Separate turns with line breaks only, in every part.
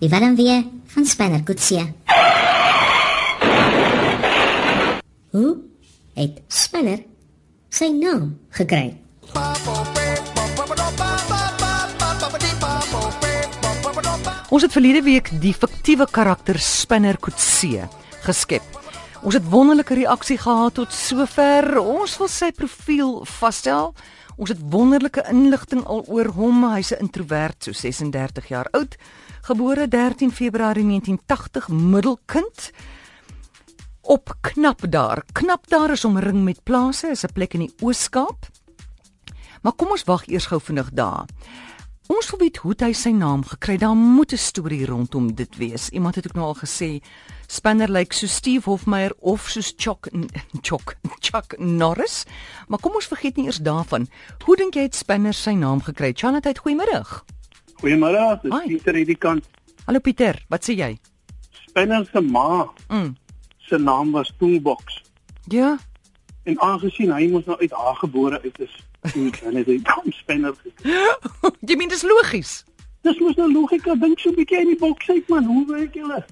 Iwarem weer van Spanner Coetzee. Hoe het Spanner sy naam gekry?
Ons het verlede week die fiktiewe karakter Spinner Coetzee geskep. Ons het wonderlike reaksie gehad tot sover. Ons wil sy profiel vasstel. Ons het wonderlike inligting al oor hom. Hy's 'n introwert, so 36 jaar oud, gebore 13 Februarie 1980, middelkind. Op knap daar. Knap daar is omring met plase, is 'n plek in die Oos-Kaap. Maar kom ons wag eers gou vinnig daar. Ons wil weet hoe het hy sy naam gekry. Daar moet 'n storie rondom dit wees. Iemand het ook nou al gesê Spanner lyk like so Steve Hofmeyer of soos Chuck Chuck Chuck Norris. Maar kom ons vergeet nie eers daarvan. Hoe dink jy het Spanner sy naam gekry? Chanat, goeiemiddag.
Goeiemôre, dis
Hi.
Pieter hierdie kant.
Hallo Pieter, wat sê jy?
Spinner se ma
Mm.
se naam was Toolbox.
Ja.
En aangesien hy mos nou uit haar gebore uit is, moet hy net hy naam Spinner gekry.
jy meen dis logies.
Dis mos nou logika, dink so 'n bietjie in die boks uit man, hoe werk julle?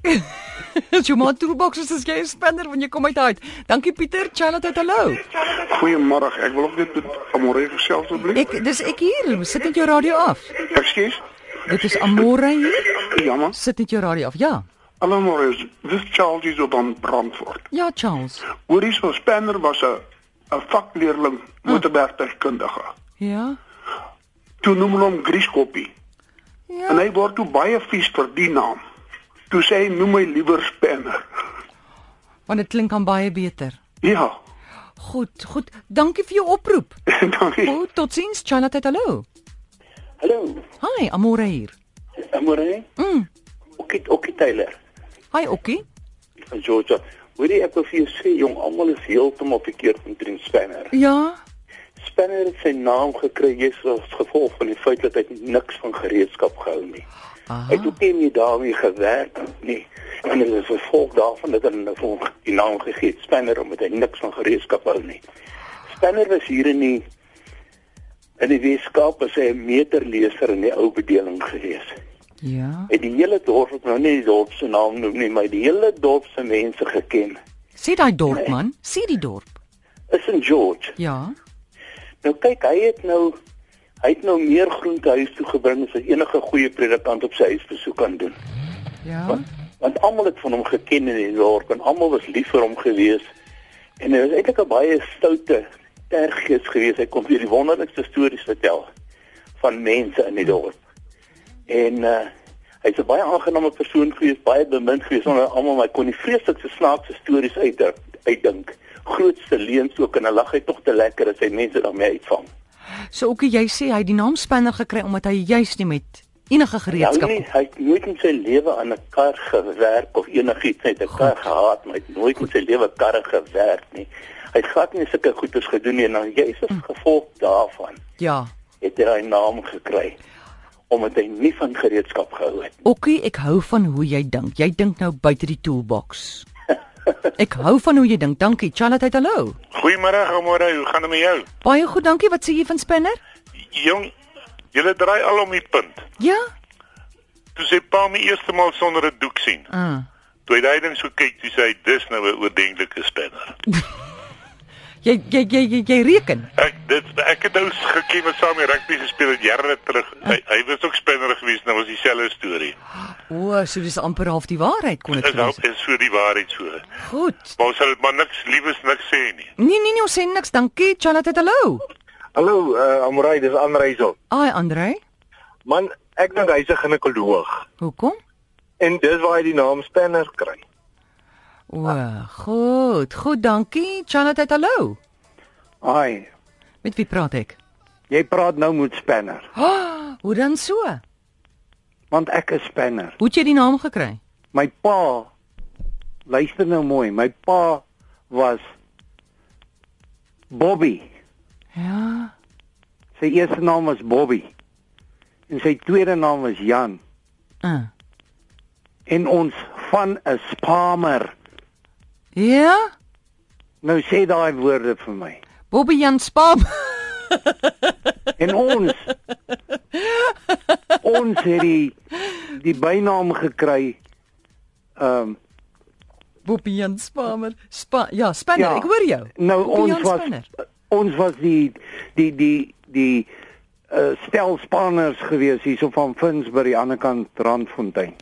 As jy maar toolbox is as jy 'n spanner wanneer jy kom uit uit. Dankie Pieter, Chanat, hallo.
Goeiemôre. Ek wil ook net met Amore gesels asseblief.
Ek dis ek hier, sit net jou radio af.
Ekskuus.
Dit is Amore hier.
Jammer.
Sit net jou radio af. Ja.
Amore, dis Charles is op aan Brandfort.
Ja, Charles.
Hoor hier, so Spanner was 'n 'n vakleerling motorbergkundige.
Ja.
Toe noem hulle hom Grieskoppie en
Ja.
hy word toe baie vies vir die naam. Toe sê hy noem my liewer Spanner.
Want dit klink aan baie beter.
Ja.
Goed, goed. Dankie vir jou oproep.
Dankie.
Goed, totsiens. Charlotte, hallo.
Hallo,
Hi, Amore hier.
Amore.
Mm.
Okkie, Okkie Taylor
Hi, Okkie.
van Georgia. Hoorie ek wil vir jou sê jong, almal is heeltemal verkeerd omtrent Spanner.
Ja.
Spanner het sy naam gekry jy's as gevolg van die feit dat hy niks van gereedskap gehou nie. Hy
Aha.
het ook nie meer daarmee gewerk nie. En dit is gevolg daarvan dat hulle nou vir hom die naam gegee het Spanner omdat hy niks van gereedskap hou nie. Spanner was hier in die in die Weskaap as hy 'n meterleser in die ou bedeling gewees.
Ja.
het die hele dorp ek nou nie die dorp se naam noem nie, maar die hele dorp se mense geken.
Sê daai dorp man. Sê die dorp.
Is in George.
Ja.
Nou kyk, hy het nou hy het nou meer groente huis toe gebring as wat enige goeie predikant op sy huis besoek kan doen.
Ja.
Want almal het van hom geken in die dorp en almal was lief vir hom gewees. En hy was eintlik 'n baie stoute terggees gewees. Hy kon vir die wonderlikste stories vertel van mense in die dorp. En uh hy's 'n baie aangename persoon gewees, baie bemind gewees onder almal, maar hy kon die vreeslikste snaakse stories uitdruk, uitdink. Grootste leuns ook en hy lag hy tog te lekker as hy mense daarmee uitvang.
So Okkie, jy sê hy het die naam Spanner gekry omdat hy juis nie met enige
Hy,
gereedskap
nie, hy het nooit in sy lewe aan 'n kar gewerk of enigiets net 'n kar gehaat, maar hy het nooit in sy lewe karre gewerk nie. Hy het glad nie sulke goeders gedoen nie en dan Jesus gevolg daarvan
Ja.
het hy daai naam gekry omdat hy nie van gereedskap gehou het.
Okkie, ek hou van hoe jy dink. Jy dink nou buite die toolbox. Ek hou van hoe jy dink. Dankie. Charlotte, hallo.
Goeiemôre Amore, hoe gaan dit met jou?
Baie goed, dankie. Wat sê jy van Spanner?
Jong, jy draai al om die punt.
Ja.
Toe sê pa my eerste maal sonder 'n doek sien.
Ah.
Toe hy daai ding so kyk, toe sê hy dis nou 'n oordentlike spanner.
Jy jy jy jy, jy reken.
Ek dit ek het nou gekiem met saam met rugby gespeel het jare terug. Hy hy was ook spanner geweest, nou was dieselfde storie.
O, so dis amper half die waarheid kon dit
Dit nou
wees.
is so die waarheid so.
Goed.
Maar ons sal dit maar niks liefes niks sê nie.
Nee nee nee, ons sê niks. Dankie. Charlotte, hallo.
Hallo, uh, Amorey, dis Anreisel.
Ai Andre,
Man, ek dink hy's 'n ginekoloog
hoekom?
en dis waar hy die naam Spanner kry.
O, goed. Goed, dankie. Charlotte, hallo.
Ai,
Met wie praat ek?
jy praat nou met Spanner,
Oh, hoe dan so?
want ek is Spanner.
Hoe het jy die naam gekry?
My pa luister nou mooi, my pa was Bobby.
Ja.
Sy eerste naam was Bobby en sy tweede naam was Jan
Uh.
en ons van 'n spamer.
Ja.
Nou sê daai woorde vir my.
Bobby Jan Spam.
En ons
ons het die die bynaam gekry ehm um,
Boppie Jan Spamer. Spa ja, Spanner,
Ja.
ek hoor jou.
Nou
Boppie
ons
Jan
was
Spanner.
ons was die die die die uh, stel spanners gewees hierso van Vins by die ander kant Randfontein.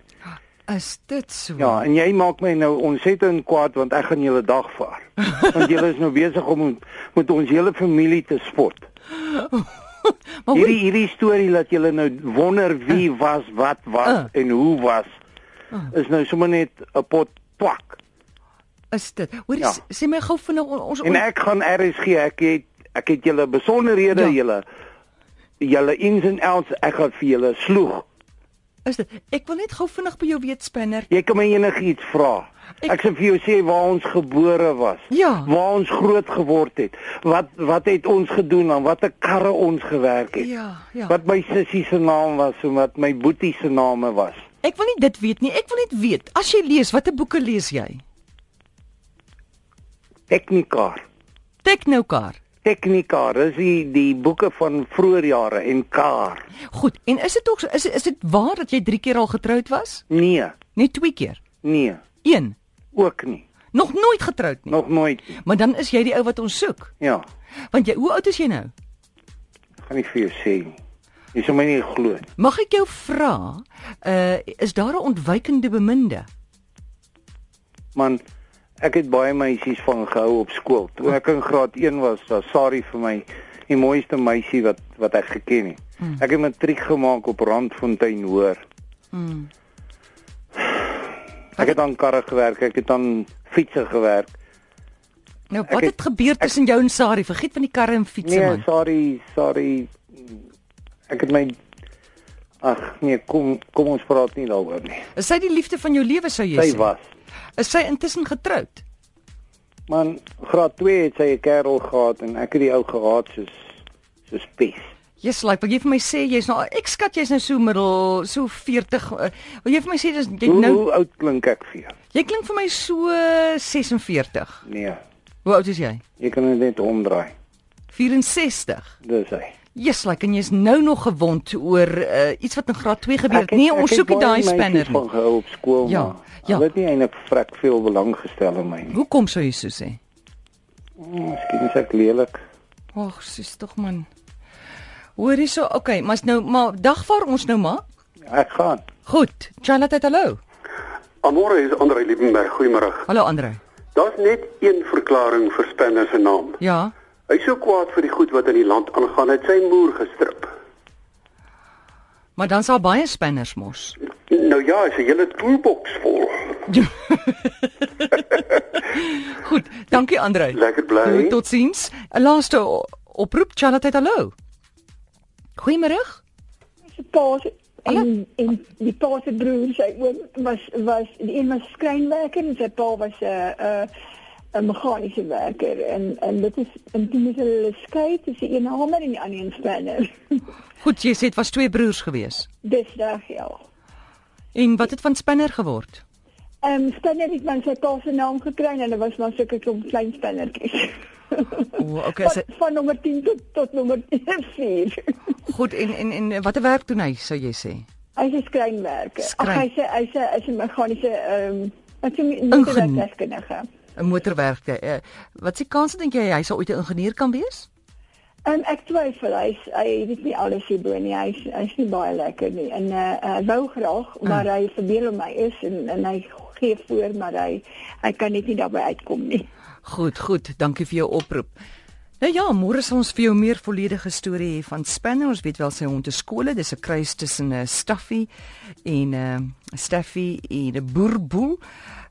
Is dit so?
Ja, en jy maak my nou ons het in kwaad want ek gaan julle dag vaar. Want julle is nou besig om met- met ons hele familie te spot.
maar hoe,
Hierdie hierdie storie dat julle nou wonder wie
Eh.
was, wat was
Uh.
uh. en hoe was
Eh.
is nou sommer net 'n pot twak.
is dit? Hoor ja.
Ja.
sê my gou vinnig on- ons
En
on-
ek gaan RSG, ek het ek het julle besonderhede,
Ja.
ja. julle julle ins en outs, ek gaan vir julle sloeg.
is dit? Ek wil net gou vinnig by jou weet Spanner.
Jy kan my enigiets vra.
Ek-
Ek, ek sê vir jou sê waar ons gebore was,
Ja.
waar ons groot geword het, wat wat het ons gedoen en watter karre ons gewerk het.
Ja, ja.
Wat my sussie se naam was en wat my boetie se name was.
Ek wil nie dit weet nie. Ek wil net weet as jy lees, watter boeke lees jy?
Teknikaar.
Teknokaar.
Teknikaar, dis die die boeke van vroeë jare en kaar.
Goed. En is dit tog so- is is dit waar dat jy 3 keer al getroud was?
Nee,
Net 2 keer.
nee,
1.
ook nie.
Nog nooit getroud nie.
Nog nooit. nie.
Maar dan is jy die ou wat ons soek.
Ja.
Want jy, hoe oud is jy nou?
gaan nie vir jou sê nie. Jy sal my nie glo nie.
Mag ek jou vra, uh is daar 'n ontwykende beminde?
Man, ek het baie meisies van gehou op skool. Toe ek in graad 1 was, was Sari vir my die mooiste meisie wat wat ek geken het. Ek het matriek gemaak op Randfontein Hoër. Ek het aan karre gewerk, ek het aan fietsse gewerk.
Nou
Ek
wat het,
het-
het gebeur tussen jou en Sari? Vergiet van die karre en fietsse
Nee,
man.
sorry, sorry. Ek het my Ag nee, kom kom ons praat nie daaroor nie.
Is sy die liefde van jou lewe sou jy
Sy
sê?
was
Is sy intussen getroud?
Man, graad 2 het sy 'n kerel gehad en ek het die ou gehaat soos soos pes.
Jy's like, wil jy vir my sê jy's nou ek skat jy's nou so middel so 40. Uh, wil jy vir my sê dis jy
Hoe, nou,
nou
hoe oud klink ek vir jou?
jy klink vir my so 46.
Nee,
Hoe oud is jy?
jy kan dit net omdraai.
64.
Dis hy.
Jy's like en jy's nou nog gewond oor uh, iets wat in graad 2 gebeur het.
Ek het-
Nee,
ek
ons
het
soek nie
baie
daai
meisies
spanner
Van
nie.
gehou op skool,
Ja,
ja, maar
ja.
ja. hulle het nie eintlik vrek veel belang gestel in my nie.
Hoekom sou jy so sê?
Oh, Miskien is ek lelik.
Ag, sis tog man. Hoor hierso, okay, maar is nou maar dagvaar ons nou maar.
Ek gaan.
Goed. Charlotte, hallo.
Amore is Andre Liebenberg. Goeiemôre.
Hallo Andre.
Daar's net een verklaring vir Spanner se naam.
Ja.
Hy's so kwaad vir die goed wat in die land aangaan, hy het sy moer gestrip.
Maar dan sal baie spanners mos.
Nou ja, hy's 'n hele toolbox vol.
Goed, dankie Andre.
Lekker bly.
Goed, Totsiens. 'n Laaste o- oproep Charlotte, hallo. Goeiemôre.
se pa se-
Hallo?
en en die pa se broer, sy oom was was die een was skrynwerker en sy pa was eh, 'n 'n 'n meganiese werker en en dit is en toe moes hulle skei tussen een hamer en die ander een spanner.
Goed, jy sê dit was twee broers gewees.
Dis reg ja.
En wat het van spanner geword?
Ehm um, spanner het man sy pa se naam gekry en hulle was maar sulke klomp klein spannertjies.
O, okay, is
Van,
dit
van nommer 10 tot tot nommer 4.
goed en en en watter werk doen hy, sou jy sê?
Hy's 'n skrynwerker. Ag
Skryn.
hy's 'n hy's 'n hy's 'n meganiese ehm um, wat se
Ingenieur.
meterwerkkundige.
'n Motorwerker. Uh, wat se kans dink jy hy sal ooit 'n ingenieur kan wees?
Um, ek twyfel hy is- hy weet nie alles hierbo nie. Hy is- hy is nie baie lekker nie. En uh, hy wou graag, maar hy verbeel hom hy is en en hy gee voor maar hy hy kan net nie daarby uitkom nie.
Goed, goed. Dankie vir jou oproep. Nou ja, môre sal ons vir jou meer volledige storie hê van Spanner. Ons weet wel sy hond is skole, dis 'n kruis tussen 'n Staffy en 'n uh, Staffy en 'n Boerboel.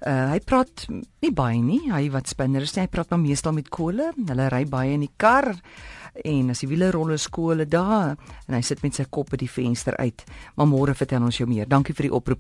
Uh, hy praat nie baie nie. Hy wat Spanner is, nie, hy praat maar meestal met Kole. Hulle ry baie in die kar en as die wiele rol is Kole daar en hy sit met sy kop uit die venster uit. Maar môre vertel ons jou meer. Dankie vir die oproep.